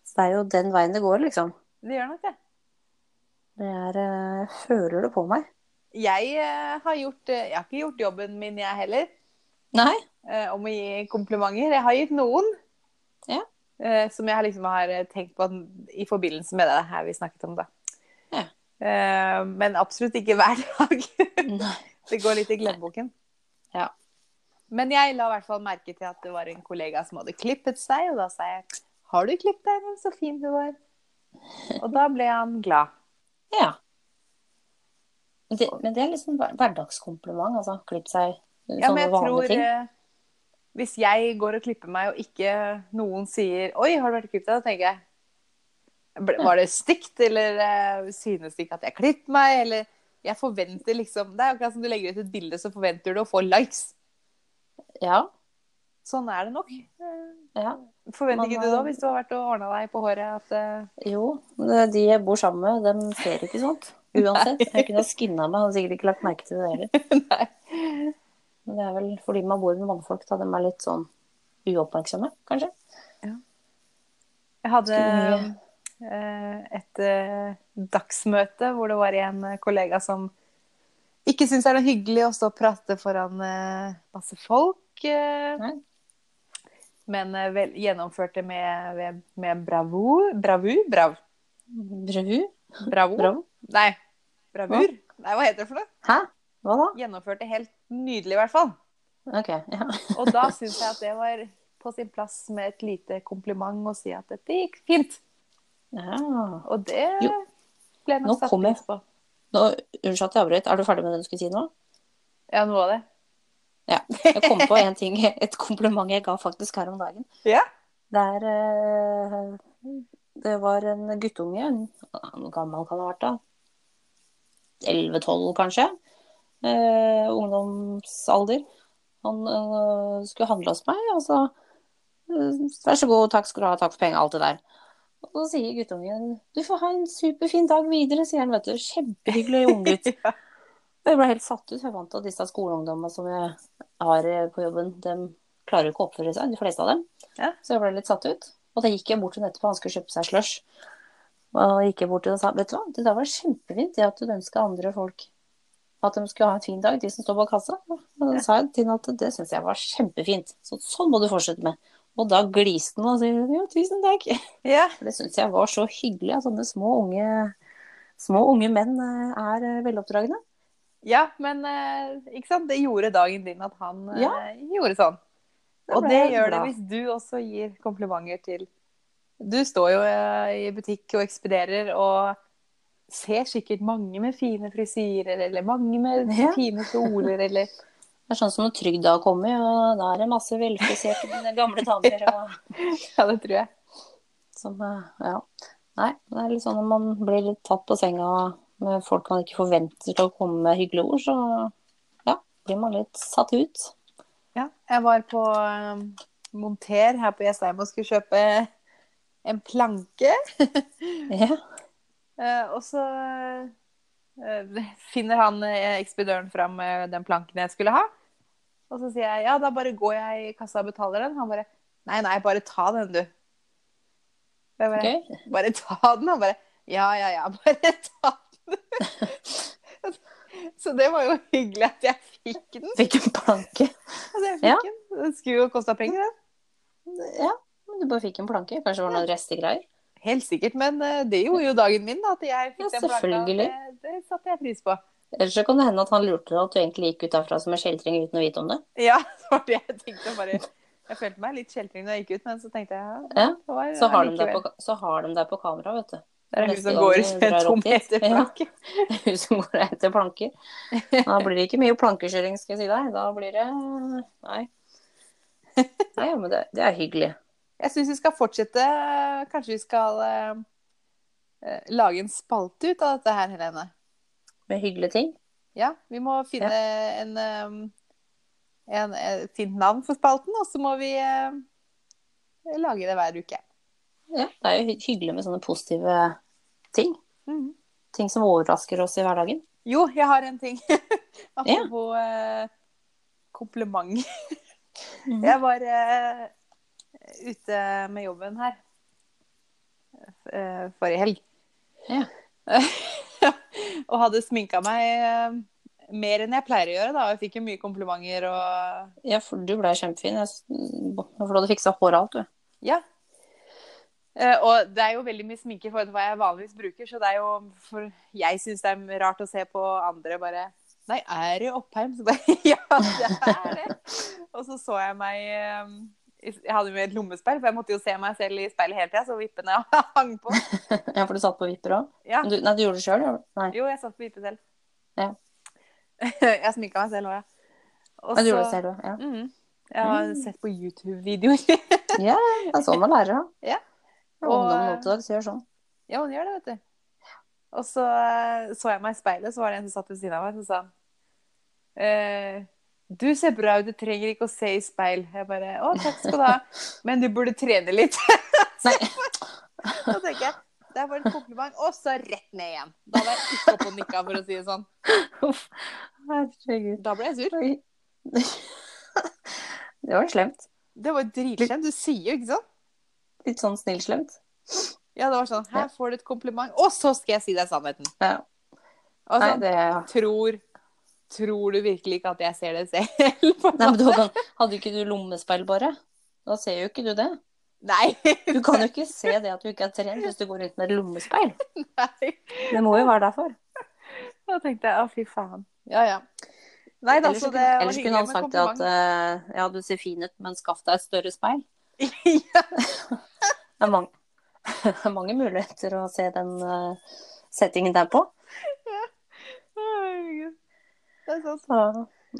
Speaker 2: Så det er jo den veien det går, liksom.
Speaker 1: Det gjør nok det.
Speaker 2: Det er eh, Jeg føler det på meg.
Speaker 1: Jeg eh, har, gjort, eh, jeg har ikke gjort jobben min, jeg heller,
Speaker 2: Nei.
Speaker 1: eh, om å gi komplimenter. Jeg har gitt noen.
Speaker 2: Ja.
Speaker 1: eh, Som jeg liksom har eh, tenkt på i forbindelse med det her vi snakket om, da.
Speaker 2: Ja.
Speaker 1: Eh, Men absolutt ikke hver dag.
Speaker 2: Nei.
Speaker 1: Det går litt i glemmeboken.
Speaker 2: Ja.
Speaker 1: Men jeg la i hvert fall merke til at det var en kollega som hadde klippet seg, og da sa jeg 'Har du klippet deg, men så fin du var'. Og da ble han glad.
Speaker 2: Ja. Men det, men det er liksom hver- hverdagskompliment, altså. Klipp seg
Speaker 1: Ja, men
Speaker 2: sånne
Speaker 1: jeg
Speaker 2: vanlige
Speaker 1: tror
Speaker 2: ting.
Speaker 1: eh, Hvis jeg går og klipper meg, og ikke noen sier 'Oi, har du vært klippet deg?' da tenker jeg "Ble- Var det stygt, eller eh, synes de ikke at jeg klippet meg, eller Jeg forventer liksom Det er akkurat som du legger ut et bilde, så forventer du å få likes.
Speaker 2: Ja.
Speaker 1: Sånn er det nok. Eh,
Speaker 2: ja.
Speaker 1: Forventer
Speaker 2: Man
Speaker 1: ikke
Speaker 2: har-
Speaker 1: du da, hvis du har vært og ordna deg på håret, at eh,
Speaker 2: Jo. det- De jeg bor sammen med, dem ser ikke sånt. Uansett. Jeg kunne ha skinna meg, hadde sikkert ikke lagt merke til det heller.
Speaker 1: Nei.
Speaker 2: Men det er vel fordi man bor med mannfolk, da de er litt sånn uoppmerksomme, kanskje.
Speaker 1: Jeg hadde
Speaker 2: Mye.
Speaker 1: eh, et eh, dagsmøte hvor det var en eh, kollega som ikke syns det er noe hyggelig å stå og prate foran eh, masse folk. eh,
Speaker 2: Nei.
Speaker 1: men eh, vel, gjennomførte med, ved- med bravur Bravur? Brav,
Speaker 2: Bravu?
Speaker 1: bravo?
Speaker 2: Bravo?
Speaker 1: Nei, bravur? Nei, hva heter det for noe?
Speaker 2: Hæ? Hva da?
Speaker 1: Gjennomførte helt nydelig, i hvert fall.
Speaker 2: Ok, ja.
Speaker 1: Og da syns jeg at det var på sin plass med et lite kompliment å si at dette gikk fint.
Speaker 2: ja.
Speaker 1: Og det
Speaker 2: Jo.
Speaker 1: ble nok
Speaker 2: Nå
Speaker 1: satt
Speaker 2: kom jeg.
Speaker 1: pris på.
Speaker 2: Nå, unnskyld at jeg avbrøt. Er du ferdig med det du skulle si nå?
Speaker 1: Ja, noe av det.
Speaker 2: Ja. Jeg kom på en ting, et kompliment jeg ga faktisk her om dagen.
Speaker 1: Ja.
Speaker 2: Der eh, det var en guttunge, en- hvor gammel kan han ha vært da? 11-12 kanskje, eh, eh, ungdomsalder. Han eh, skulle handle hos meg, og så eh, Vær så god, takk skal du ha, takk for pengene, alt det der. Og så sier guttungen Du får ha en superfin dag videre, sier han, vet du. Kjempehyggelig unggutt.
Speaker 1: Ja.
Speaker 2: Og Jeg ble helt satt ut. for Jeg vant til at disse skoleungdommene som jeg har eh, på jobben, de klarer ikke å oppføre seg, de fleste av dem.
Speaker 1: Ja.
Speaker 2: Så jeg ble litt satt ut. Og da gikk jeg bort til henne etterpå, han skulle kjøpe seg slush. Og da gikk jeg bort til henne og sa, vet du hva, det der var kjempefint, det at du ønsker andre folk at de skulle ha en fin dag, de som står bak kassa. Og da sa jeg til henne at det syns jeg var kjempefint. Så sånn må du fortsette med. Og da gliste han og sa jo, tusen takk.
Speaker 1: Ja.
Speaker 2: For det syns jeg var så hyggelig at sånne små unge, små unge menn eh, er eh, veloppdragne.
Speaker 1: Ja, men eh, ikke sant? det gjorde dagen din at han eh,
Speaker 2: Ja.
Speaker 1: gjorde sånn.
Speaker 2: Da
Speaker 1: Og
Speaker 2: ble
Speaker 1: det
Speaker 2: jeg
Speaker 1: gjør det
Speaker 2: glad.
Speaker 1: hvis du også gir komplimenter til Du står jo eh, i butikk og ekspederer og ser sikkert mange med fine frisyrer eller mange med
Speaker 2: Ja.
Speaker 1: fine kjoler eller
Speaker 2: Det er sånn som når Trygda har kommet, og da er det masse velfriserte gamle damer og,
Speaker 1: Ja, det tror jeg.
Speaker 2: som eh, Ja. Nei, det er litt sånn når man blir litt tatt på senga med folk man ikke forventer til å komme med hyggelige ord, så ja, blir man litt satt ut.
Speaker 1: Ja, jeg var på eh, Monter her på Jessheim og skulle kjøpe en planke.
Speaker 2: Ja.
Speaker 1: Eh, og så eh, finner han eh, ekspedøren fram eh, den planken jeg skulle ha. Og så sier jeg ja, da bare går jeg i kassa og betaler den. Han bare nei, nei, bare ta den, du. Og Jeg bare,
Speaker 2: Gøy.
Speaker 1: bare ta den. Han bare ja, ja, ja, bare ta den. så det var jo hyggelig at jeg fikk den.
Speaker 2: Fikk en planke.
Speaker 1: Altså, jeg fikk
Speaker 2: Ja.
Speaker 1: den. den skulle jo kosta penger, den.
Speaker 2: Ja, men du bare fikk en planke. Kanskje det var noen restegreier.
Speaker 1: Helt sikkert, men eh, det gjorde jo dagen min, da, at jeg fikk den
Speaker 2: Ja,
Speaker 1: planka. Det,
Speaker 2: selvfølgelig.
Speaker 1: det satte jeg pris på.
Speaker 2: Ellers så kan det hende at han lurte deg at du egentlig gikk ut derfra som en kjeltring uten å vite om det.
Speaker 1: Ja, det var det jeg tenkte. Bare, jeg følte meg litt kjeltring da jeg gikk ut, men så tenkte jeg ja,
Speaker 2: Ja,
Speaker 1: det var
Speaker 2: Så har de deg
Speaker 1: allikevel.
Speaker 2: på, så har de deg på kamera, vet du.
Speaker 1: Det er hun
Speaker 2: neste
Speaker 1: som
Speaker 2: gang
Speaker 1: går
Speaker 2: du
Speaker 1: med
Speaker 2: drar
Speaker 1: to
Speaker 2: opp dit.
Speaker 1: meter
Speaker 2: Ja.
Speaker 1: bak.
Speaker 2: hun som går etter planker. Da blir det ikke mye plankekjøring, skal jeg si deg. Da blir det Nei. Nei, ja, men det, det er hyggelig.
Speaker 1: Jeg syns vi skal fortsette. Kanskje vi skal eh, eh, lage en spalte ut av dette her, Helene.
Speaker 2: Med hyggelige ting.
Speaker 1: Ja, vi må finne en, eh, en, et fint navn for spalten, og så må vi eh, lage det hver uke.
Speaker 2: Ja, det er jo hy- hyggelig med sånne positive ting.
Speaker 1: Mhm.
Speaker 2: Ting som overrasker oss i hverdagen.
Speaker 1: Jo, jeg har en ting. Apropos eh, kompliment. Jeg var eh, ute med jobben her eh, forrige helg.
Speaker 2: Ja.
Speaker 1: og hadde sminka meg eh, mer enn jeg pleier å gjøre, da. Jeg fikk jo mye komplimenter og
Speaker 2: Ja, for du ble kjempefin. Jeg, s- for du hadde fiksa håret og alt, du.
Speaker 1: Ja. Eh, Og det er jo veldig mye sminke i forhold til hva jeg vanligvis bruker, så det er jo for Jeg syns det er rart å se på andre bare Nei, er det Oppheim? Så bare Ja, det er det. Og så så jeg meg eh, Jeg hadde jo et lommespeil, for jeg måtte jo se meg selv i speilet hele tida, så vippene hang på.
Speaker 2: Ja, for du satt på vipper òg.
Speaker 1: Ja.
Speaker 2: Nei, du gjorde det sjøl? Nei.
Speaker 1: Jo, jeg satt på vippe selv.
Speaker 2: Ja.
Speaker 1: Jeg sminka meg selv òg, ja. Og
Speaker 2: Men du
Speaker 1: så-
Speaker 2: gjorde det selv, ja.
Speaker 1: Mm, jeg har
Speaker 2: Mm.
Speaker 1: sett på YouTube-videoer.
Speaker 2: Ja, det er sånn man lærer, da.
Speaker 1: Ja.
Speaker 2: Og ungdommen nå til dags gjør sånn.
Speaker 1: Ja, hun gjør det, vet du. Og så eh, så jeg meg i speilet, så var det en som satt ved siden av meg, som sa eh, Du ser bra ut, du trenger ikke å se i speil. Jeg bare Å, takk skal du ha. Men du burde trene litt. Så
Speaker 2: Nei.
Speaker 1: da tenker jeg det var en kompliment, og så rett ned igjen. Da var jeg ikke oppe og nikka, for å si det sånn.
Speaker 2: Uff. Herregud.
Speaker 1: Da ble jeg sur.
Speaker 2: Oi. Det var slemt.
Speaker 1: Det var jo dritslemt. Du sier jo ikke sånn.
Speaker 2: Litt sånn snill-slemt.
Speaker 1: Ja, det var sånn Her får du et kompliment, og så skal jeg si deg sannheten.
Speaker 2: Ja.
Speaker 1: Og
Speaker 2: Nei,
Speaker 1: sånn,
Speaker 2: det...
Speaker 1: tror, tror du virkelig ikke at jeg ser det selv? på en
Speaker 2: Nei, men du kan... Hadde ikke du lommespeil, bare? Da ser jo ikke du det.
Speaker 1: Nei.
Speaker 2: Du kan jo ikke se det at du ikke er trent hvis du går rundt med et lommespeil.
Speaker 1: Nei.
Speaker 2: Det må jo være derfor.
Speaker 1: Da tenkte jeg å, fy faen. Ja, ja. Nei da,
Speaker 2: ellers
Speaker 1: så
Speaker 2: kunne-
Speaker 1: det var
Speaker 2: ellers
Speaker 1: hyggelig
Speaker 2: kunne han
Speaker 1: med
Speaker 2: sagt
Speaker 1: kompliment.
Speaker 2: det at eh, ja, du ser fin ut, men skaff deg et større speil.
Speaker 1: ja.
Speaker 2: Det er mange, det er mange muligheter å se den eh, settingen der på. eh,
Speaker 1: Herregud. Det er sant.
Speaker 2: Så,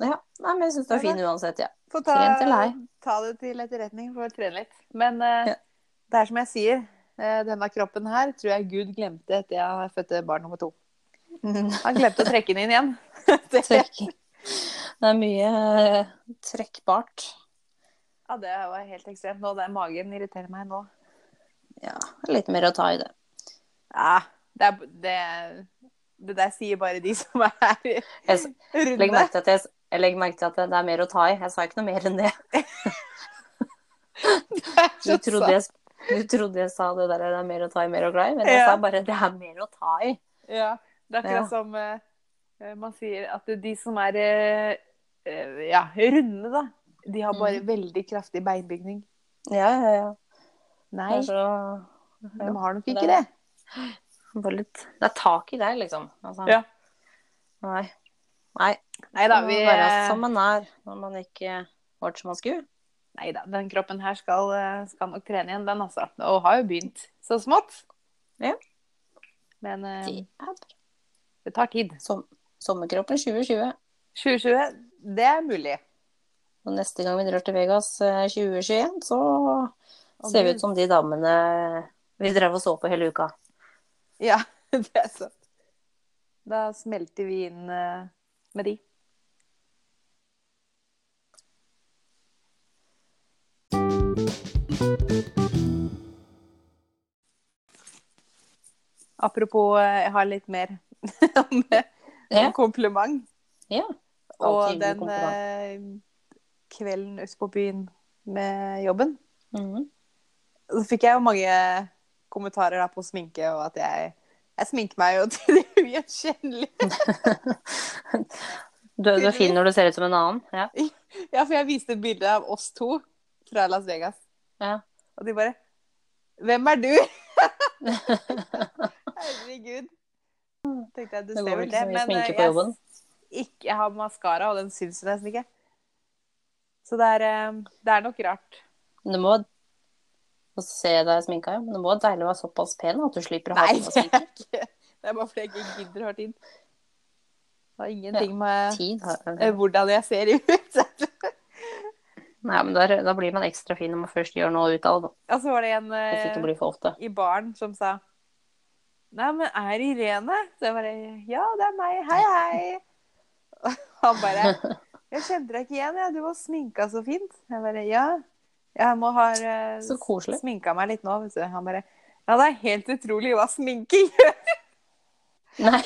Speaker 2: ja. Nei, men jeg syns det er fin uansett, jeg. Ja.
Speaker 1: Få ta,
Speaker 2: Trent eller ei.
Speaker 1: ta det til etterretning for å trene litt. Men eh,
Speaker 2: Ja.
Speaker 1: det er som jeg sier, eh, denne kroppen her tror jeg Gud glemte etter jeg fødte barn nummer to. Han glemte å trekke den inn igjen. Det,
Speaker 2: Trekking. Det er mye eh, trekkbart.
Speaker 1: ja, det var helt ekstremt. Nå, den magen irriterer meg nå.
Speaker 2: Ja, litt mer å ta i det.
Speaker 1: Ja, det, er, det, det der sier bare de som er
Speaker 2: Jeg s-
Speaker 1: runde.
Speaker 2: legg merke til at jeg, s- jeg legger merke til at det- det er mer å ta i. Jeg sa ikke noe mer enn det. Du trodde jeg, du trodde jeg sa det der det er mer å ta i, mer å glad i, men jeg
Speaker 1: Ja.
Speaker 2: sa bare det er mer å ta i.
Speaker 1: Ja, det er akkurat
Speaker 2: Ja.
Speaker 1: som eh, eh, man sier at de som er eh, eh, ja, runde, da, de har bare
Speaker 2: Mm.
Speaker 1: veldig kraftig beinbygning.
Speaker 2: Ja, ja, ja. Det
Speaker 1: Nei,
Speaker 2: er så
Speaker 1: de har nok
Speaker 2: det-
Speaker 1: ikke det.
Speaker 2: bare litt Det er tak i deg, liksom. Altså,
Speaker 1: Ja.
Speaker 2: Nei. Nei.
Speaker 1: Nei da,
Speaker 2: Man må
Speaker 1: vi eh,
Speaker 2: være sånn. som man er når man ikke ble som man skulle.
Speaker 1: Nei da, den kroppen her skal, eh, skal nok trene igjen, den altså. Og har jo begynt så smått.
Speaker 2: Ja.
Speaker 1: Men eh,
Speaker 2: Det er bra.
Speaker 1: det tar tid.
Speaker 2: Som, sommerkroppen 2020.
Speaker 1: 2020, det er mulig.
Speaker 2: Og neste gang vi drar til Vegas eh, 2021, så
Speaker 1: Og
Speaker 2: ser vi
Speaker 1: du-
Speaker 2: ut som de damene vi drev og så på hele uka.
Speaker 1: Ja, det er sant. Da smelter vi inn eh, med de. Apropos, eh, jeg har litt mer om,
Speaker 2: Ja.
Speaker 1: om kompliment.
Speaker 2: Ja.
Speaker 1: Og
Speaker 2: Alltid hyggelig
Speaker 1: den
Speaker 2: kompliment.
Speaker 1: eh, kvelden ute på byen med jobben,
Speaker 2: Mhm.
Speaker 1: så fikk jeg jo mange kommentarer da på sminke, og at jeg, jeg sminker meg jo til det ugjenkjennelige.
Speaker 2: Du, du er fin når du ser ut som en annen. Ja.
Speaker 1: Ja, for jeg viste et bilde av oss to fra Las Vegas,
Speaker 2: ja.
Speaker 1: og de bare Hvem er du? Herregud. Tenkte jeg, du
Speaker 2: Det
Speaker 1: ser
Speaker 2: går vel
Speaker 1: vel
Speaker 2: ikke
Speaker 1: det,
Speaker 2: så mye
Speaker 1: men eh,
Speaker 2: sminke på
Speaker 1: jeg,
Speaker 2: jobben.
Speaker 1: ikke, jeg har maskara, og den syns jeg nesten ikke. Så det er, eh, det er nok rart.
Speaker 2: Men Det må Nå ser jeg deg sminka, ja. Men det må være deilig å være såpass pen at du slipper å ha
Speaker 1: Nei,
Speaker 2: på deg
Speaker 1: det
Speaker 2: sminke.
Speaker 1: er ikke Det er bare fordi jeg ikke gidder å ha tid. Det har ingenting med
Speaker 2: Tid.
Speaker 1: eh, hvordan jeg ser ut.
Speaker 2: Nei, men der, da blir man ekstra fin når man først gjør noe ut av det.
Speaker 1: Og så var det en
Speaker 2: Hvis ikke det
Speaker 1: eh,
Speaker 2: blir for ofte.
Speaker 1: i baren som sa Nei, men er det Irene? Så jeg bare Ja, det er meg. Hei, hei. Og han bare Jeg kjente deg ikke igjen, jeg. Du var sminka så fint. Jeg bare Ja. Jeg må ha eh,
Speaker 2: Så koselig.
Speaker 1: sminka meg litt nå, vet du. Han bare Ja, det er helt utrolig hva sminke gjør.
Speaker 2: Nei.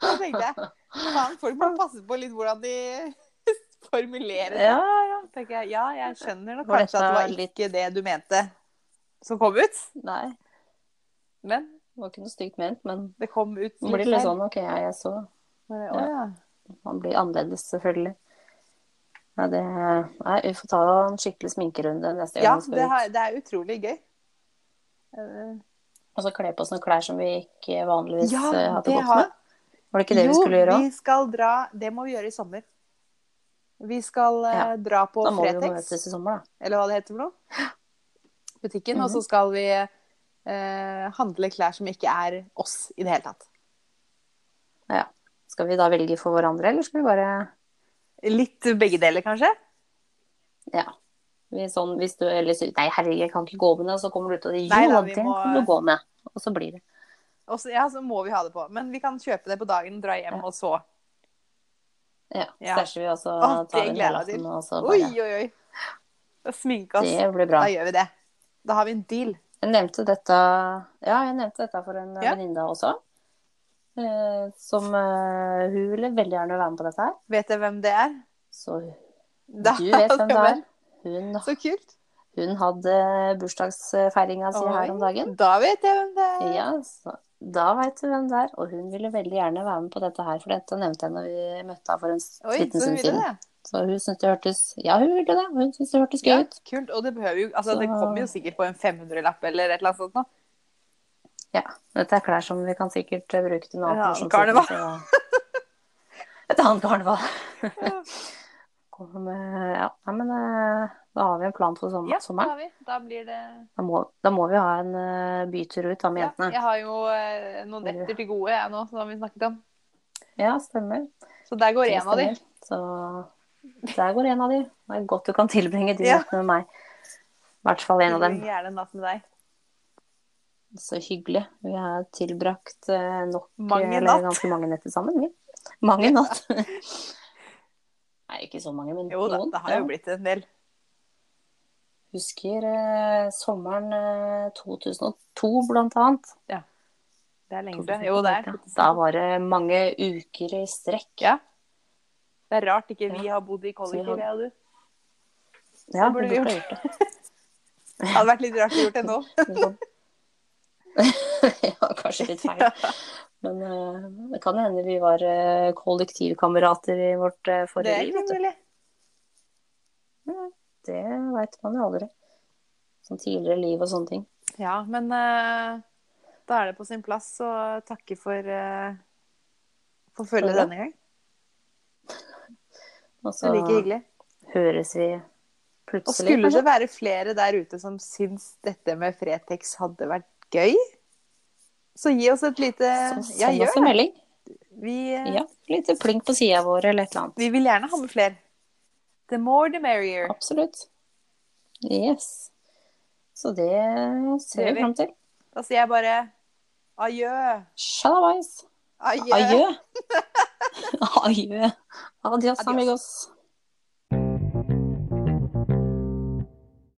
Speaker 1: Så tenkte jeg faen, folk må passe på litt hvordan de formulerer
Speaker 2: Ja,
Speaker 1: ja, tenker jeg. Ja, jeg skjønner nok
Speaker 2: For
Speaker 1: kanskje at
Speaker 2: dette
Speaker 1: det var
Speaker 2: er litt-
Speaker 1: ikke det du mente som kom ut,
Speaker 2: Nei.
Speaker 1: men
Speaker 2: Det var ikke noe stygt ment, men
Speaker 1: det kom ut
Speaker 2: man blir litt sånn OK, jeg er så
Speaker 1: Bare, Å, ja.
Speaker 2: Man blir annerledes, selvfølgelig. Nei, det Nei, vi får ta en skikkelig sminkerunde neste gang
Speaker 1: ja,
Speaker 2: vi skal
Speaker 1: det,
Speaker 2: ut.
Speaker 1: har, det er utrolig gøy. Eh,
Speaker 2: Og så kle på oss noen klær som vi ikke vanligvis
Speaker 1: Ja,
Speaker 2: eh, hadde
Speaker 1: det
Speaker 2: gått
Speaker 1: har-
Speaker 2: med. Var det ikke det vi skulle gjøre
Speaker 1: Jo,
Speaker 2: òg?
Speaker 1: vi skal dra Det må vi gjøre i sommer. Vi skal eh,
Speaker 2: Ja,
Speaker 1: dra på
Speaker 2: Da må vi jo
Speaker 1: Fretex,
Speaker 2: møtes i sommer, da.
Speaker 1: eller hva det heter for noe. Butikken. Og
Speaker 2: Mhm.
Speaker 1: så skal vi eh, handle klær som ikke er oss i det hele tatt.
Speaker 2: Skal vi da velge for hverandre, eller skal vi bare
Speaker 1: Litt begge deler, kanskje?
Speaker 2: Ja. Vi sånn, hvis du ellers Nei, herregud, jeg kan ikke gå med det. Og så kommer du ut og det Jo,
Speaker 1: Nei da, vi
Speaker 2: det
Speaker 1: må-
Speaker 2: kan du gå med. Og så blir det.
Speaker 1: Og så, ja, så må vi ha det på. Men vi kan kjøpe det på dagen, dra hjem, og så
Speaker 2: Ja.
Speaker 1: Ja.
Speaker 2: Stæsjer vi, og så
Speaker 1: Å, det
Speaker 2: tar vi
Speaker 1: gleder
Speaker 2: en
Speaker 1: jeg meg
Speaker 2: julaften,
Speaker 1: til.
Speaker 2: og så
Speaker 1: Oi,
Speaker 2: bare
Speaker 1: oi, oi. Da sminke oss.
Speaker 2: Det blir bra.
Speaker 1: Da gjør vi det. Da har vi en deal.
Speaker 2: Jeg nevnte dette, ja, jeg nevnte dette for en
Speaker 1: Ja.
Speaker 2: venninne også. Eh, som eh, Hun ville veldig gjerne være med på dette her.
Speaker 1: Vet dere hvem det er?
Speaker 2: Så
Speaker 1: Da-
Speaker 2: du vet hvem det er.
Speaker 1: men,
Speaker 2: Hun,
Speaker 1: Så kult.
Speaker 2: hun hadde bursdagsfeiringa si her om dagen.
Speaker 1: Oi, Da vet jeg hvem det er.
Speaker 2: Ja, så da veit du hvem det er. Og hun ville veldig gjerne være med på dette her, for dette nevnte jeg når vi møtte henne for en s-
Speaker 1: Oi,
Speaker 2: liten
Speaker 1: så
Speaker 2: stund
Speaker 1: ville
Speaker 2: siden.
Speaker 1: det.
Speaker 2: Så hun syntes det hørtes Ja, hun ville det. Hun syntes det hørtes gøy
Speaker 1: Ja,
Speaker 2: ut.
Speaker 1: kult. Og det behøver jo Altså,
Speaker 2: Så-
Speaker 1: det kommer jo sikkert på en 500-lapp eller et eller annet sånt nå.
Speaker 2: Ja. Dette er klær som vi kan sikkert eh, bruke til noe
Speaker 1: Ja,
Speaker 2: morsomt,
Speaker 1: karneval.
Speaker 2: så- Et annet karneval.
Speaker 1: Ja.
Speaker 2: Kommer med Ja, nei, men eh, da har vi en plan for som
Speaker 1: Ja, da
Speaker 2: sommeren.
Speaker 1: har vi. Da blir det
Speaker 2: Da må, da må vi ha en eh, bytur ut da, med
Speaker 1: ja,
Speaker 2: jentene.
Speaker 1: Jeg har jo eh, noen netter til gode, jeg nå, som vi snakket om.
Speaker 2: Ja, stemmer.
Speaker 1: Så der går
Speaker 2: Det
Speaker 1: en av de.
Speaker 2: stemmer. Så der går en av de. Det er godt du kan tilbringe de
Speaker 1: Ja.
Speaker 2: nettene med meg. I hvert fall en av dem.
Speaker 1: Gjerne en natt med deg.
Speaker 2: Så hyggelig. Vi har tilbrakt eh, nok
Speaker 1: Mange
Speaker 2: eller
Speaker 1: natt.
Speaker 2: ganske mange netter sammen. Vi. Mange natt. Nei, ikke så mange, men
Speaker 1: Jo da,
Speaker 2: noen.
Speaker 1: det har
Speaker 2: ja.
Speaker 1: jo blitt en del.
Speaker 2: Husker eh, sommeren eh, 2002, blant annet.
Speaker 1: Det er lenge siden. Jo, det er.
Speaker 2: Da var det mange uker i strekk.
Speaker 1: Ja. Det er rart ikke vi
Speaker 2: Ja.
Speaker 1: har bodd i kollektiv,
Speaker 2: Så vi har-
Speaker 1: jeg og du.
Speaker 2: Ja,
Speaker 1: Det burde
Speaker 2: vi
Speaker 1: vi
Speaker 2: burde
Speaker 1: gjort.
Speaker 2: ha gjort det.
Speaker 1: Det hadde vært litt rart å gjort det nå.
Speaker 2: liksom. ja, kanskje litt feil. Men eh, det kan hende vi var eh, kollektivkamerater i vårt eh,
Speaker 1: Det
Speaker 2: forrige
Speaker 1: er
Speaker 2: liv.
Speaker 1: ikke
Speaker 2: Vet du.
Speaker 1: mulig.
Speaker 2: Det veit man jo aldri. Sånn tidligere liv og sånne ting.
Speaker 1: Ja, men eh, da er det på sin plass å takke for, eh, for følget
Speaker 2: Følget.
Speaker 1: denne gang.
Speaker 2: Og
Speaker 1: Det
Speaker 2: så
Speaker 1: er like hyggelig.
Speaker 2: høres vi
Speaker 1: Og
Speaker 2: plutselig.
Speaker 1: skulle det
Speaker 2: kanskje.
Speaker 1: være flere der ute som syns dette med Fretex hadde vært gøy, så gi oss et lite
Speaker 2: Så
Speaker 1: Ja,
Speaker 2: send oss
Speaker 1: gjør
Speaker 2: en
Speaker 1: det.
Speaker 2: melding.
Speaker 1: Vi, eh,
Speaker 2: Ja, litt plink på sida vår eller et eller annet.
Speaker 1: vi vil gjerne ha med flere. The more the merrier.
Speaker 2: Absolutt. Yes. Så det ser
Speaker 1: Det gjør
Speaker 2: vi
Speaker 1: vi.
Speaker 2: fram til.
Speaker 1: Da sier jeg bare adjø.
Speaker 2: Shalabais.
Speaker 1: Adjø.
Speaker 2: Adjø. Adjø. Adios,
Speaker 1: Adios.
Speaker 2: amigos.